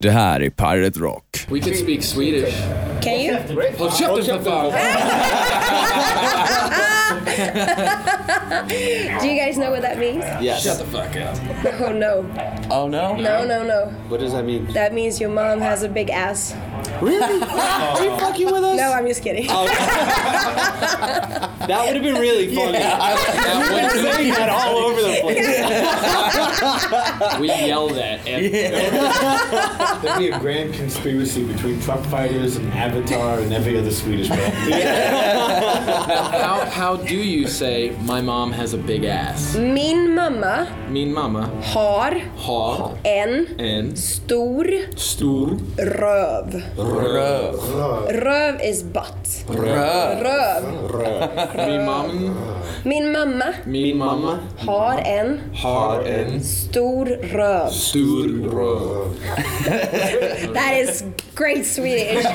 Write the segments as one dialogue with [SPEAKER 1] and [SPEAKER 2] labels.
[SPEAKER 1] Det här är Pirate Rock.
[SPEAKER 2] We can speak Swedish.
[SPEAKER 3] Can you?
[SPEAKER 2] Håll käften för fan!
[SPEAKER 3] Do you guys know what that means?
[SPEAKER 4] Yes.
[SPEAKER 2] Shut the fuck up.
[SPEAKER 3] Oh no.
[SPEAKER 4] Oh no?
[SPEAKER 3] No, no, no.
[SPEAKER 4] What does that mean?
[SPEAKER 3] That means your mom has a big ass.
[SPEAKER 4] Really? Are you fucking with us?
[SPEAKER 3] No, I'm just kidding.
[SPEAKER 2] Oh.
[SPEAKER 4] That would have been really funny.
[SPEAKER 2] Now,
[SPEAKER 4] I'm
[SPEAKER 2] when
[SPEAKER 4] saying that all over the place.
[SPEAKER 2] we yell that at
[SPEAKER 5] There'd be a grand conspiracy between truck fighters and Avatar and every other Swedish band.
[SPEAKER 2] how, how do you say my mom has a big ass?
[SPEAKER 3] Min mamma
[SPEAKER 2] Min mamma
[SPEAKER 3] har
[SPEAKER 2] har
[SPEAKER 3] en
[SPEAKER 2] en
[SPEAKER 3] stor
[SPEAKER 2] stor
[SPEAKER 3] röv.
[SPEAKER 2] röv.
[SPEAKER 3] Röv is butt.
[SPEAKER 4] Bruh.
[SPEAKER 3] Röv.
[SPEAKER 2] Min mamma,
[SPEAKER 3] Min mamma
[SPEAKER 2] min mamma
[SPEAKER 3] har en
[SPEAKER 2] har en
[SPEAKER 3] stor röv.
[SPEAKER 2] stor röv.
[SPEAKER 3] That is great Swedish.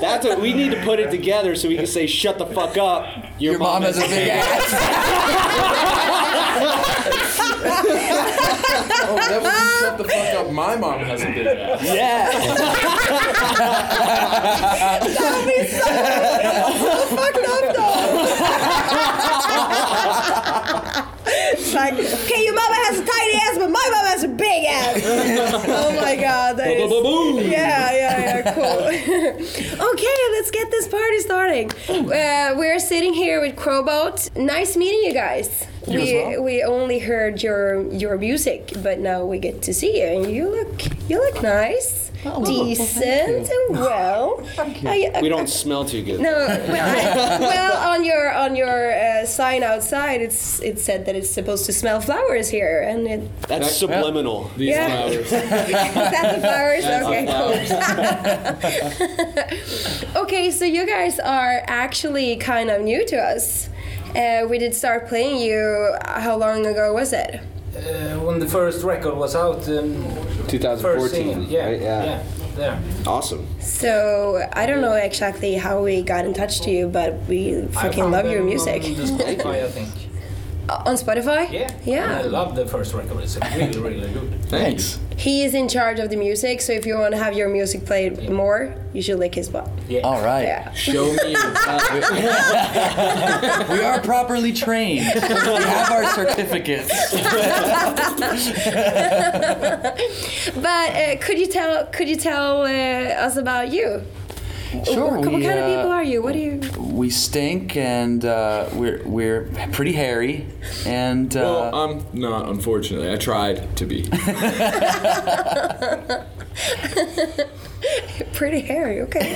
[SPEAKER 4] That's what we need to put it together so we can say shut the fuck up. Your,
[SPEAKER 1] mom has a big
[SPEAKER 4] ass.
[SPEAKER 2] Oh, that was shut the fuck up. My mom has a big ass.
[SPEAKER 4] yeah.
[SPEAKER 3] fucked up though. it's like, okay, your mama has a tiny ass, but my mama has a big ass. oh my god, that is. Yeah, yeah, yeah, cool. okay, let's get this party starting. Uh, we're sitting here with Crowboat. Nice meeting you guys. we we only heard your your music, but now we get to see you, and you look you look nice,
[SPEAKER 4] Oh,
[SPEAKER 3] decent, and well. I- I-
[SPEAKER 4] We don't smell too good.
[SPEAKER 3] no, well, I- well, on your on your uh, sign outside, it's it said that it's supposed to smell flowers here, and it,
[SPEAKER 4] That's subliminal.
[SPEAKER 2] These
[SPEAKER 3] Yeah.
[SPEAKER 2] flowers.
[SPEAKER 3] that's the flowers. okay,
[SPEAKER 2] flowers.
[SPEAKER 3] cool. Okay, so you guys are actually kind of new to us. Uh, we did start playing you. uh, How long ago was it?
[SPEAKER 6] Uh, when the first record was out, um, first single, yeah, yeah, there.
[SPEAKER 4] Awesome.
[SPEAKER 3] So I don't know exactly how we got in touch to you, but we
[SPEAKER 6] I
[SPEAKER 3] fucking
[SPEAKER 6] found
[SPEAKER 3] love your
[SPEAKER 6] them
[SPEAKER 3] music Uh,
[SPEAKER 6] On the Spotify, I think.
[SPEAKER 3] on Spotify.
[SPEAKER 6] Yeah, and I
[SPEAKER 3] Yeah.
[SPEAKER 6] love the first record. It's really, really good.
[SPEAKER 1] Thanks.
[SPEAKER 3] He is in charge of the music, so if you want to have your music played more, you should lick his butt.
[SPEAKER 1] All right.
[SPEAKER 3] Yeah.
[SPEAKER 2] Show me your
[SPEAKER 1] We are properly trained. we have our certificates.
[SPEAKER 3] But uh, could you tell could you tell uh, us about you?
[SPEAKER 1] Sure.
[SPEAKER 3] what, what
[SPEAKER 1] we,
[SPEAKER 3] kind of people
[SPEAKER 1] uh,
[SPEAKER 3] are you? What do you?
[SPEAKER 1] We stink and uh, we're we're pretty hairy and uh,
[SPEAKER 2] Well, Oh, I'm not, unfortunately. I tried to be.
[SPEAKER 3] Pretty hairy. Okay.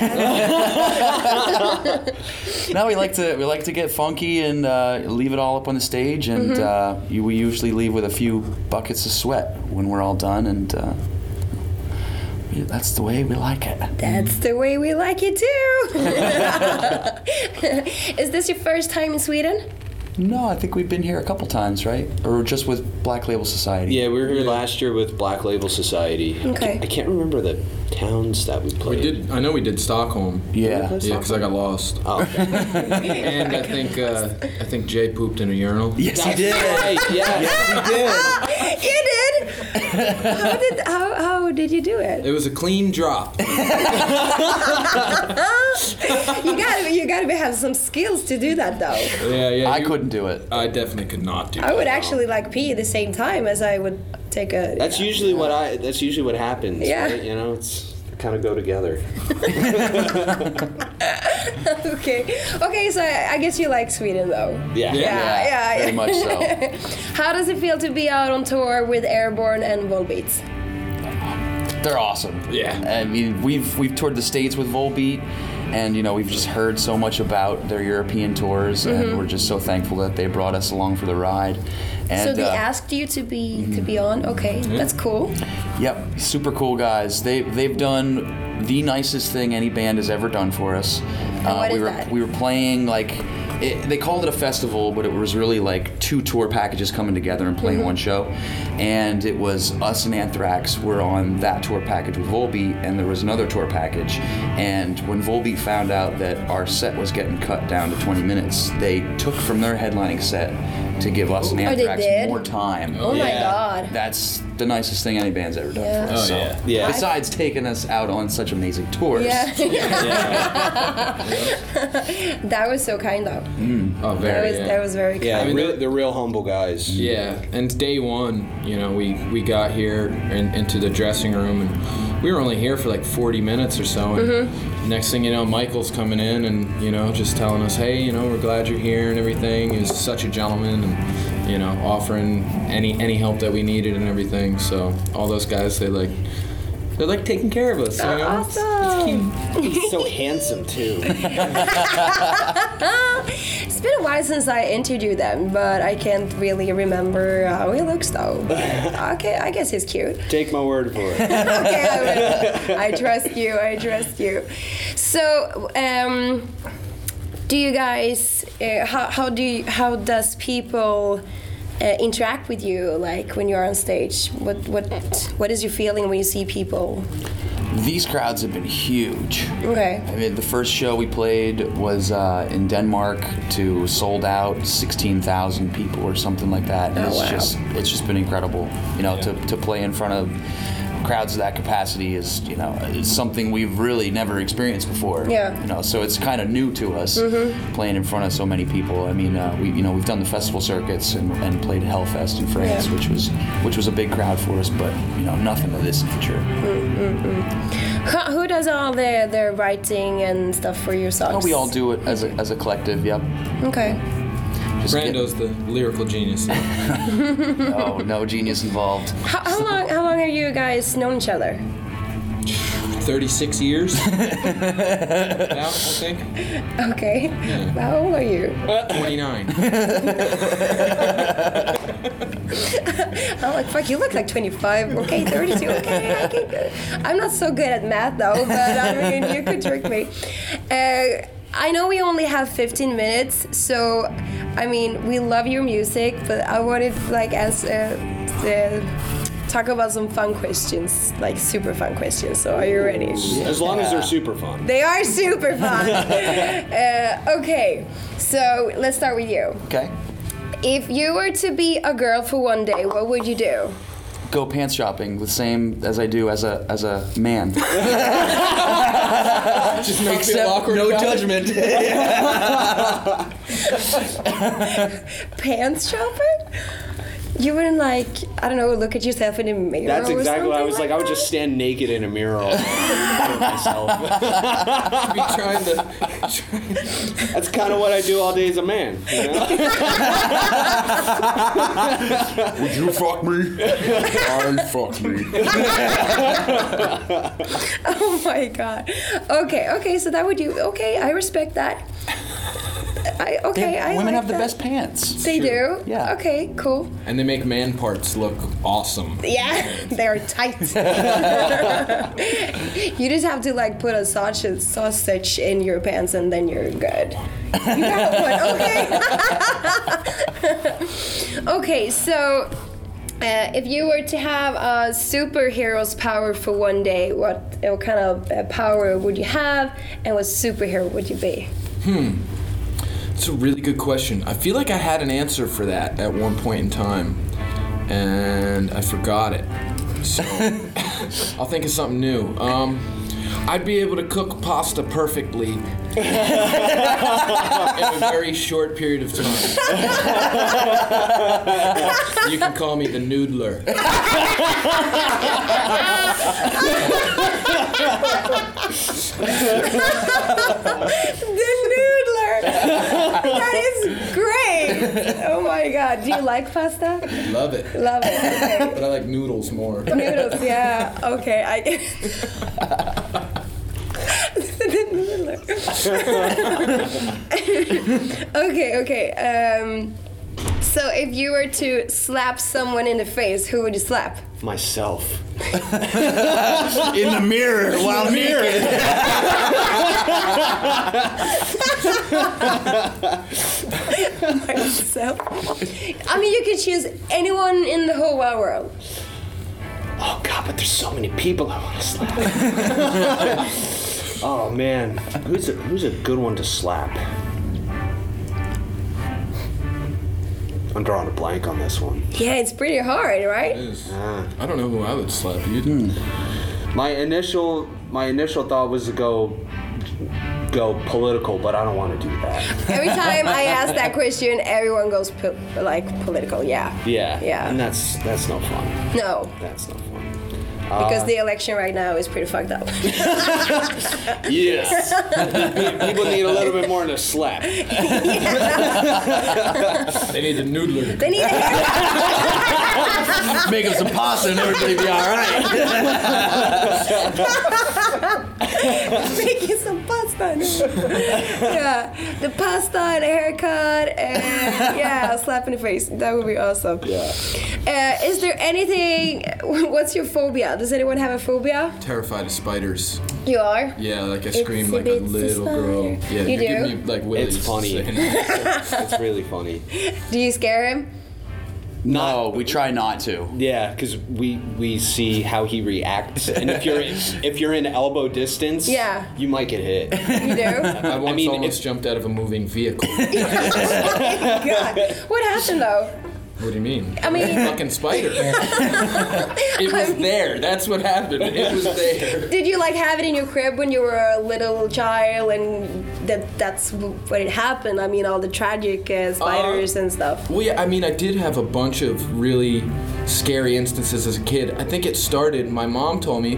[SPEAKER 1] now we like to we like to get funky and uh, leave it all up on the stage and uh, you, we usually leave with a few buckets of sweat when we're all done and uh, we- that's the way we like it.
[SPEAKER 3] That's the way we like it too. Is this your first time in Sweden?
[SPEAKER 1] No, I think we've been here a couple times, right? Or just with Black Label Society.
[SPEAKER 4] Yeah, we were here last year with Black Label Society.
[SPEAKER 3] Okay.
[SPEAKER 4] I can't remember the towns that we
[SPEAKER 2] We
[SPEAKER 4] played.
[SPEAKER 2] did. I know we did Stockholm.
[SPEAKER 1] Yeah.
[SPEAKER 2] Yeah, because I got lost.
[SPEAKER 4] Oh, okay.
[SPEAKER 2] And I think uh, I think Jay pooped in a urinal.
[SPEAKER 1] Yes, he did.
[SPEAKER 4] Right, yes.
[SPEAKER 3] You did. How did how, how did you do it?
[SPEAKER 2] It was a clean drop.
[SPEAKER 3] You gotta you gotta have some skills to do that though.
[SPEAKER 2] Yeah, yeah.
[SPEAKER 1] I
[SPEAKER 2] you-
[SPEAKER 1] couldn't do it.
[SPEAKER 2] I definitely could not do.
[SPEAKER 3] I
[SPEAKER 2] that.
[SPEAKER 3] would actually like pee at the same time as I would take a.
[SPEAKER 4] That's usually what I. That's usually what happens.
[SPEAKER 3] Yeah.
[SPEAKER 4] Right? You know, it's kind of go together.
[SPEAKER 3] okay. Okay, so I, I guess you like Sweden though.
[SPEAKER 4] Yeah.
[SPEAKER 2] Yeah.
[SPEAKER 3] Yeah, yeah,
[SPEAKER 1] Very much so.
[SPEAKER 3] How does it feel to be out on tour with Airborne and Volbeat?
[SPEAKER 1] They're awesome.
[SPEAKER 2] Yeah.
[SPEAKER 1] I mean, we've we've toured the states with Volbeat, and you know we've just heard so much about their European tours, and we're just so thankful that they brought us along for the ride. And,
[SPEAKER 3] so they
[SPEAKER 1] uh,
[SPEAKER 3] asked you to be to be on. Okay, that's cool.
[SPEAKER 1] Yep, super cool guys. They they've done the nicest thing any band has ever done for us. Uh,
[SPEAKER 3] what
[SPEAKER 1] we
[SPEAKER 3] is
[SPEAKER 1] were
[SPEAKER 3] that?
[SPEAKER 1] we were playing like it, they called it a festival, but it was really like two tour packages coming together and
[SPEAKER 3] Mm-hmm.
[SPEAKER 1] playing one show. And it was us and Anthrax were on that tour package with Volbeat, and there was another tour package. And when Volbeat found out that our set was getting cut down to 20 minutes, they took from their headlining set to give us and
[SPEAKER 3] Oh, they
[SPEAKER 1] Anthrax
[SPEAKER 3] did?
[SPEAKER 1] more time.
[SPEAKER 3] Oh my
[SPEAKER 4] Yeah.
[SPEAKER 3] god.
[SPEAKER 1] That's the nicest thing any band's ever done
[SPEAKER 3] Yeah.
[SPEAKER 1] for us. so.
[SPEAKER 2] Oh, yeah.
[SPEAKER 4] Yeah.
[SPEAKER 1] Besides taking us out on such amazing
[SPEAKER 2] Oh.
[SPEAKER 1] tours.
[SPEAKER 3] that was so kind though.
[SPEAKER 2] Oh,
[SPEAKER 3] That
[SPEAKER 2] very.
[SPEAKER 3] was
[SPEAKER 2] yeah.
[SPEAKER 3] that was very kind.
[SPEAKER 4] Yeah,
[SPEAKER 2] mean,
[SPEAKER 4] real,
[SPEAKER 2] the-
[SPEAKER 4] they're real humble guys.
[SPEAKER 2] Yeah, and day one, you know, we we got here and into the dressing room, and we were only here for like 40 minutes or so. And
[SPEAKER 3] Mm-hmm.
[SPEAKER 2] next thing you know, Michael's coming in and you know just telling us, hey, you know, we're glad you're here and everything. He was such a gentleman, and you know, offering any any help that we needed and everything. So all those guys, they like. They're like taking care of us. you know? It's- it's cute.
[SPEAKER 4] He's so handsome too.
[SPEAKER 3] Ah, It's been a while since I interviewed them, but I can't really remember how he looks though. okay, I guess he's cute.
[SPEAKER 4] Take my word for it.
[SPEAKER 3] okay, I, will. I trust you. I trust you. So, um, do you guys? Uh, how, how do you, how does people uh, interact with you? Like when you're on stage, what what what is your feeling when you see people?
[SPEAKER 1] These crowds have been huge.
[SPEAKER 3] Okay.
[SPEAKER 1] I mean, the first show we played was uh, in Denmark to sold out 16,000 people or something like that. And
[SPEAKER 3] Oh,
[SPEAKER 1] it's
[SPEAKER 3] wow.
[SPEAKER 1] just it's just been incredible. You know, to, to play in front of crowds of that capacity is, you know, it's something we've really never experienced before.
[SPEAKER 3] Yeah. Mm-hmm.
[SPEAKER 1] You know, so it's kind of new to us playing in front of so many people. I mean, uh, we you know, we've done the festival circuits and, and played Hellfest in France,
[SPEAKER 3] Yeah.
[SPEAKER 1] which was which was a big crowd for us, but you know, nothing to this for sure.
[SPEAKER 3] Who, who does all the the writing and stuff for your songs?
[SPEAKER 1] Well, Oh, we all do it as a, as a collective, yep.
[SPEAKER 3] Okay.
[SPEAKER 1] Just get-
[SPEAKER 2] Brando's the lyrical genius.
[SPEAKER 1] Oh, no genius involved.
[SPEAKER 3] How, how long how long have you guys known each other?
[SPEAKER 2] 36 years. now, I think.
[SPEAKER 3] Okay. How old are you?
[SPEAKER 2] 29.
[SPEAKER 3] I'm like, fuck, you look like 25. Okay, 32. Okay, I can go. I'm not so good at math though, but I mean, you could trick me. Uh, I know we only have 15 minutes, so I mean, we love your music, but I wanted like as uh, the talk about some fun questions, like super fun questions. So are you ready?
[SPEAKER 4] As long as they're super fun.
[SPEAKER 3] They are super fun. uh, okay, so let's start with you.
[SPEAKER 1] Okay.
[SPEAKER 3] If you were to be a girl for one day, what would you do?
[SPEAKER 1] Go pants shopping the same as I do as a as a man.
[SPEAKER 2] Just makes
[SPEAKER 1] no judgment.
[SPEAKER 3] pants shopping? You wouldn't like I don't know, look at yourself in a mirror.
[SPEAKER 4] That's
[SPEAKER 3] or
[SPEAKER 4] exactly what I
[SPEAKER 3] something
[SPEAKER 4] was like. I would just stand naked in a mirror all for myself.
[SPEAKER 2] be trying to.
[SPEAKER 4] That's kind of what I do all day as a man. You know?
[SPEAKER 1] Would you fuck me? I fuck me.
[SPEAKER 3] that? Oh my god. Okay, okay, so that would you. Okay, I respect that. I okay. I
[SPEAKER 1] Women
[SPEAKER 3] like
[SPEAKER 1] have the
[SPEAKER 3] that.
[SPEAKER 1] best pants.
[SPEAKER 3] They do.
[SPEAKER 1] Yeah.
[SPEAKER 3] Okay. Cool.
[SPEAKER 2] And they make man parts look awesome.
[SPEAKER 3] Yeah, they are tight. you just have to like put a sausage sausage in your pants, and then you're good. You got one. Okay. Okay, so uh, if you were to have a superhero's power for one day, what, what kind of uh, power would you have, and what superhero would you be?
[SPEAKER 2] It's a really good question. I feel like I had an answer for that at one point in time, and I forgot it. So I'll think of something new. Um, I'd be able to cook pasta perfectly in a very short period of time. you can call me the noodler.
[SPEAKER 3] The noodler. that is great. Oh my god, do you like pasta?
[SPEAKER 2] Love it.
[SPEAKER 3] Love it. Okay.
[SPEAKER 2] But I like noodles more.
[SPEAKER 3] Noodles, yeah. Okay, I get The noodler. okay, okay. Um, so if you were to slap someone in the face, who would you slap?
[SPEAKER 4] myself.
[SPEAKER 1] In the mirror while naked.
[SPEAKER 3] Myself. I mean, you could choose anyone in the whole wide world.
[SPEAKER 4] Oh god, but there's so many people I want to slap. oh man, who's a, who's a good one to slap? I'm drawing a blank on this one. Ah.
[SPEAKER 3] Yeah, it's pretty hard, right?
[SPEAKER 2] I don't know who I would slap. You
[SPEAKER 3] Hmm.
[SPEAKER 4] My initial my initial thought was to go go political, but I don't want to do that.
[SPEAKER 3] Every time I ask that question, everyone goes po- like political. Yeah.
[SPEAKER 4] Yeah.
[SPEAKER 3] Yeah.
[SPEAKER 4] And that's that's no fun.
[SPEAKER 3] No,
[SPEAKER 4] That's no fun.
[SPEAKER 3] because
[SPEAKER 4] Uh.
[SPEAKER 3] the election right now is pretty fucked up.
[SPEAKER 4] Yes. People need a little bit more than a slap.
[SPEAKER 2] They need the noodler.
[SPEAKER 3] they need a haircut.
[SPEAKER 1] Make up some pasta and everybody be all right.
[SPEAKER 3] making some pasta. yeah, the pasta and a haircut and yeah, a slap in the face. That would be awesome. Yeah. Uh, is there anything? What's your phobia? Does anyone have a phobia?
[SPEAKER 2] Terrified of spiders.
[SPEAKER 3] You are.
[SPEAKER 2] Yeah, like I scream
[SPEAKER 3] a
[SPEAKER 2] like a
[SPEAKER 3] bitsy
[SPEAKER 2] little girl.
[SPEAKER 3] spider.
[SPEAKER 2] Yeah,
[SPEAKER 3] You
[SPEAKER 2] are
[SPEAKER 3] do?
[SPEAKER 2] giving me like willies.
[SPEAKER 4] funny.
[SPEAKER 2] saying
[SPEAKER 4] It's really funny.
[SPEAKER 3] Do you scare him?
[SPEAKER 1] No, Oh, we try not to.
[SPEAKER 4] Yeah, because we we see how he reacts, and if you're in, if you're in elbow distance,
[SPEAKER 3] Yeah.
[SPEAKER 4] you might get hit.
[SPEAKER 3] You do.
[SPEAKER 2] I once
[SPEAKER 4] mean,
[SPEAKER 2] almost
[SPEAKER 4] if-
[SPEAKER 2] jumped out of a moving vehicle. what
[SPEAKER 3] God, what happened though?
[SPEAKER 2] do you mean?
[SPEAKER 3] I mean,
[SPEAKER 2] Fucking spider. it was there. That's what happened. It was there.
[SPEAKER 3] did you like have it in your crib when you were a little child, and that that's what it happened? I mean, all the tragic uh,
[SPEAKER 4] Uh-huh.
[SPEAKER 3] spiders and stuff.
[SPEAKER 2] Well, yeah, I mean, I did have a bunch of really scary instances as a kid. I think it started, my mom told me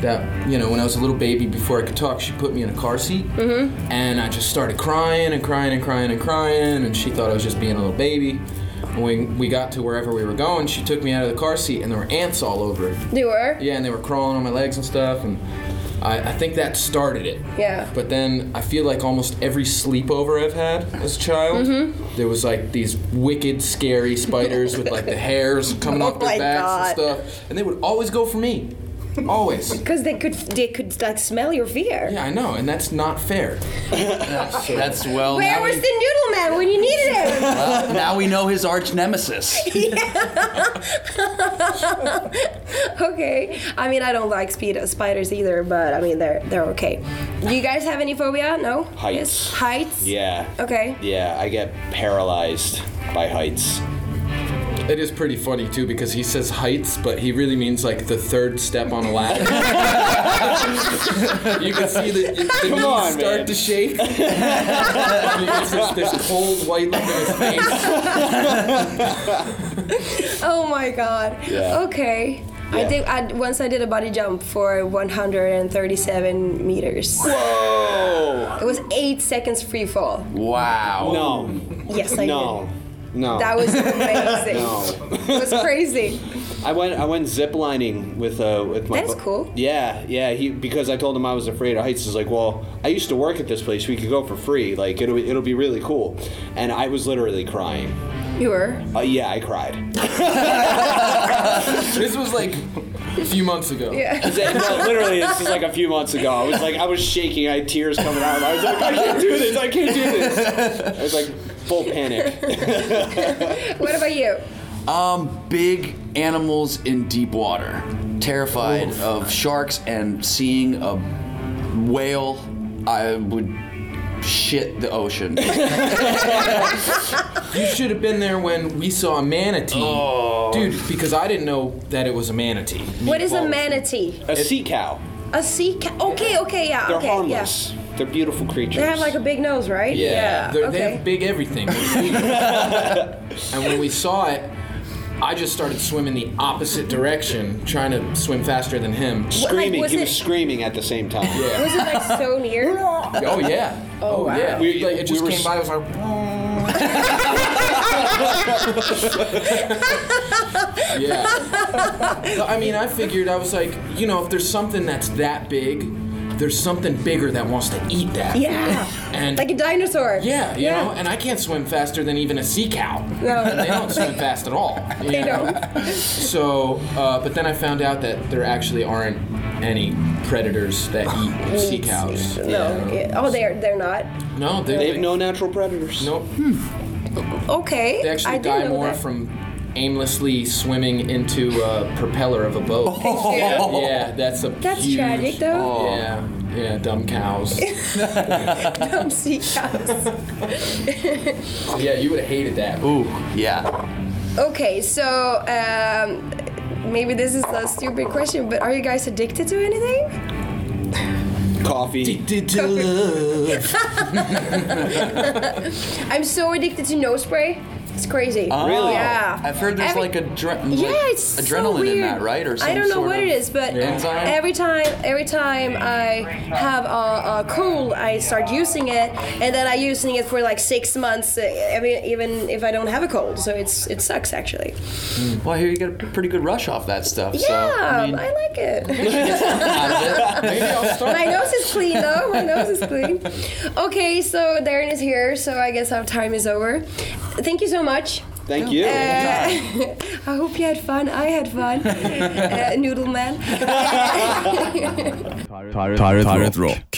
[SPEAKER 2] that, you know, when I was a little baby, before I could talk, she put me in a car seat. And I just started crying and crying and crying and crying, and she thought I was just being a little baby. When we got to wherever we were going, she took me out of the car seat, and there were ants all over it.
[SPEAKER 3] You were.
[SPEAKER 2] Yeah, and they were crawling on my legs and stuff, and I, I think that started it.
[SPEAKER 3] Yeah.
[SPEAKER 2] But then I feel like almost every sleepover I've had as a child,
[SPEAKER 3] Mm-hmm.
[SPEAKER 2] there was like these wicked, scary spiders with like the hairs coming
[SPEAKER 3] Oh
[SPEAKER 2] off their
[SPEAKER 3] my
[SPEAKER 2] backs
[SPEAKER 3] God.
[SPEAKER 2] and stuff, and they would always go for me, always.
[SPEAKER 3] Because they could, they could like smell your fear.
[SPEAKER 2] Yeah, I know, and that's not fair.
[SPEAKER 1] That's
[SPEAKER 4] Oh,
[SPEAKER 1] well.
[SPEAKER 3] Where
[SPEAKER 1] now,
[SPEAKER 3] was
[SPEAKER 1] we,
[SPEAKER 3] the noodle man when you needed him?
[SPEAKER 1] well, now we know his arch nemesis.
[SPEAKER 3] okay. I mean, I don't like speed, spiders either, but I mean, they're they're okay. Do you guys have any phobia? No.
[SPEAKER 4] Heights.
[SPEAKER 3] Yes? Heights.
[SPEAKER 4] Yeah.
[SPEAKER 3] Okay.
[SPEAKER 4] Yeah, I get paralyzed by heights.
[SPEAKER 2] It is pretty funny too because he says heights, but he really means like the third step on a ladder. you can see the, the knees
[SPEAKER 4] on,
[SPEAKER 2] start
[SPEAKER 4] man.
[SPEAKER 2] to shake. It's just this cold white look in his face.
[SPEAKER 3] Oh my god.
[SPEAKER 4] Yeah.
[SPEAKER 3] Okay. I
[SPEAKER 4] Yeah.
[SPEAKER 3] did. I, once I did a body jump for 137 meters.
[SPEAKER 4] Whoa!
[SPEAKER 3] It was eight seconds free fall.
[SPEAKER 1] Wow.
[SPEAKER 4] No,
[SPEAKER 3] Yes, I did.
[SPEAKER 4] no, no.
[SPEAKER 3] That was amazing.
[SPEAKER 4] no.
[SPEAKER 3] It was crazy.
[SPEAKER 4] I went I went ziplining with uh with my.
[SPEAKER 3] That's
[SPEAKER 4] bu-
[SPEAKER 3] cool.
[SPEAKER 4] Yeah, yeah. He because I told him I was afraid of heights. He's like, well, I used to work at this place. We could go for free. Like it'll it'll be really cool. And I was literally crying.
[SPEAKER 3] You were.
[SPEAKER 4] Uh, yeah, I cried.
[SPEAKER 2] This was like a few months ago.
[SPEAKER 3] Yeah.
[SPEAKER 4] That- no, literally, this is like a few months ago. I was like, I was shaking. I had tears coming out. I was like, I can't do this. I can't do this. I was like, full panic.
[SPEAKER 3] What about you?
[SPEAKER 1] Um, big animals in deep water. Terrified of sharks and seeing a whale, I would shit the ocean.
[SPEAKER 2] You should have been there when we saw a manatee.
[SPEAKER 4] Oh.
[SPEAKER 2] Dude, because I didn't know that it was a manatee.
[SPEAKER 3] What is a
[SPEAKER 2] Meatballs.
[SPEAKER 3] manatee?
[SPEAKER 4] A sea cow.
[SPEAKER 3] A sea cat. Okay, okay, yeah.
[SPEAKER 4] They're
[SPEAKER 3] okay, Yeah.
[SPEAKER 4] harmless. They're beautiful creatures.
[SPEAKER 3] They have like a big nose, right?
[SPEAKER 2] Yeah, they're-
[SPEAKER 3] okay.
[SPEAKER 2] they have big everything. and when we saw it, I just started swimming the opposite direction, trying to swim faster than him.
[SPEAKER 4] screaming.
[SPEAKER 3] was
[SPEAKER 4] he
[SPEAKER 3] it-
[SPEAKER 4] was screaming at the same time.
[SPEAKER 3] Was it like so near?
[SPEAKER 2] Oh yeah.
[SPEAKER 3] Oh, wow.
[SPEAKER 2] yeah.
[SPEAKER 4] We-
[SPEAKER 2] like, it just
[SPEAKER 4] we were
[SPEAKER 2] came
[SPEAKER 4] s-
[SPEAKER 2] by. It was like. yeah. No, I mean, I figured I was like, you know, if there's something that's that big, there's something bigger that wants to eat that.
[SPEAKER 3] Yeah.
[SPEAKER 2] And
[SPEAKER 3] like a dinosaur.
[SPEAKER 2] yeah, you know, and I can't swim faster than even a sea cow.
[SPEAKER 3] No.
[SPEAKER 2] They don't swim fast at all. You
[SPEAKER 3] They
[SPEAKER 2] know?
[SPEAKER 3] don't.
[SPEAKER 2] So, uh, but then I found out that there actually aren't any predators that eat sea cows.
[SPEAKER 3] Oh, No. yeah. Oh, they're they're not.
[SPEAKER 2] No, they,
[SPEAKER 4] They have no natural predators.
[SPEAKER 2] Nope.
[SPEAKER 3] Okay.
[SPEAKER 2] They actually
[SPEAKER 3] Hmm. I didn't
[SPEAKER 2] die
[SPEAKER 3] know
[SPEAKER 2] more
[SPEAKER 3] that.
[SPEAKER 2] from aimlessly swimming into a propeller of a boat. Yeah, that's a
[SPEAKER 3] That's
[SPEAKER 2] huge-
[SPEAKER 3] tragic, though.
[SPEAKER 1] Oh.
[SPEAKER 2] Yeah, yeah, dumb cows.
[SPEAKER 3] Dumb sea cows.
[SPEAKER 2] yeah, you would have hated that.
[SPEAKER 1] Ooh, yeah.
[SPEAKER 3] Okay, so um, maybe this is a stupid question, but are you guys addicted to anything?
[SPEAKER 4] Coffee.
[SPEAKER 3] I'm so addicted to nose spray. It's crazy.
[SPEAKER 1] Oh,
[SPEAKER 3] Yeah.
[SPEAKER 1] I've heard there's
[SPEAKER 3] Every-
[SPEAKER 1] like, adre-
[SPEAKER 3] Yeah,
[SPEAKER 1] like
[SPEAKER 3] it's so
[SPEAKER 1] adrenaline in that,
[SPEAKER 3] weird.
[SPEAKER 1] right? Or some
[SPEAKER 3] I don't know
[SPEAKER 1] sort
[SPEAKER 3] what
[SPEAKER 1] of-
[SPEAKER 3] it is, but
[SPEAKER 1] enzyme?
[SPEAKER 3] every time, every time I have a, a cold, I start using it, and then I using it for like six months. uh, I mean, even if I don't have a cold, so it's it sucks actually.
[SPEAKER 1] Well, I hear you get a pretty good rush off that stuff.
[SPEAKER 3] Yeah,
[SPEAKER 1] so, I mean,
[SPEAKER 3] I like it.
[SPEAKER 2] Maybe I'll start.
[SPEAKER 3] My nose is clean though. My nose is clean. Okay, so Darren is here, so I guess our time is over. Thank you so much.
[SPEAKER 4] Thank you.
[SPEAKER 3] Uh, I hope you had fun. I had fun. uh, noodle man.
[SPEAKER 7] Pirate, Pirate Rock.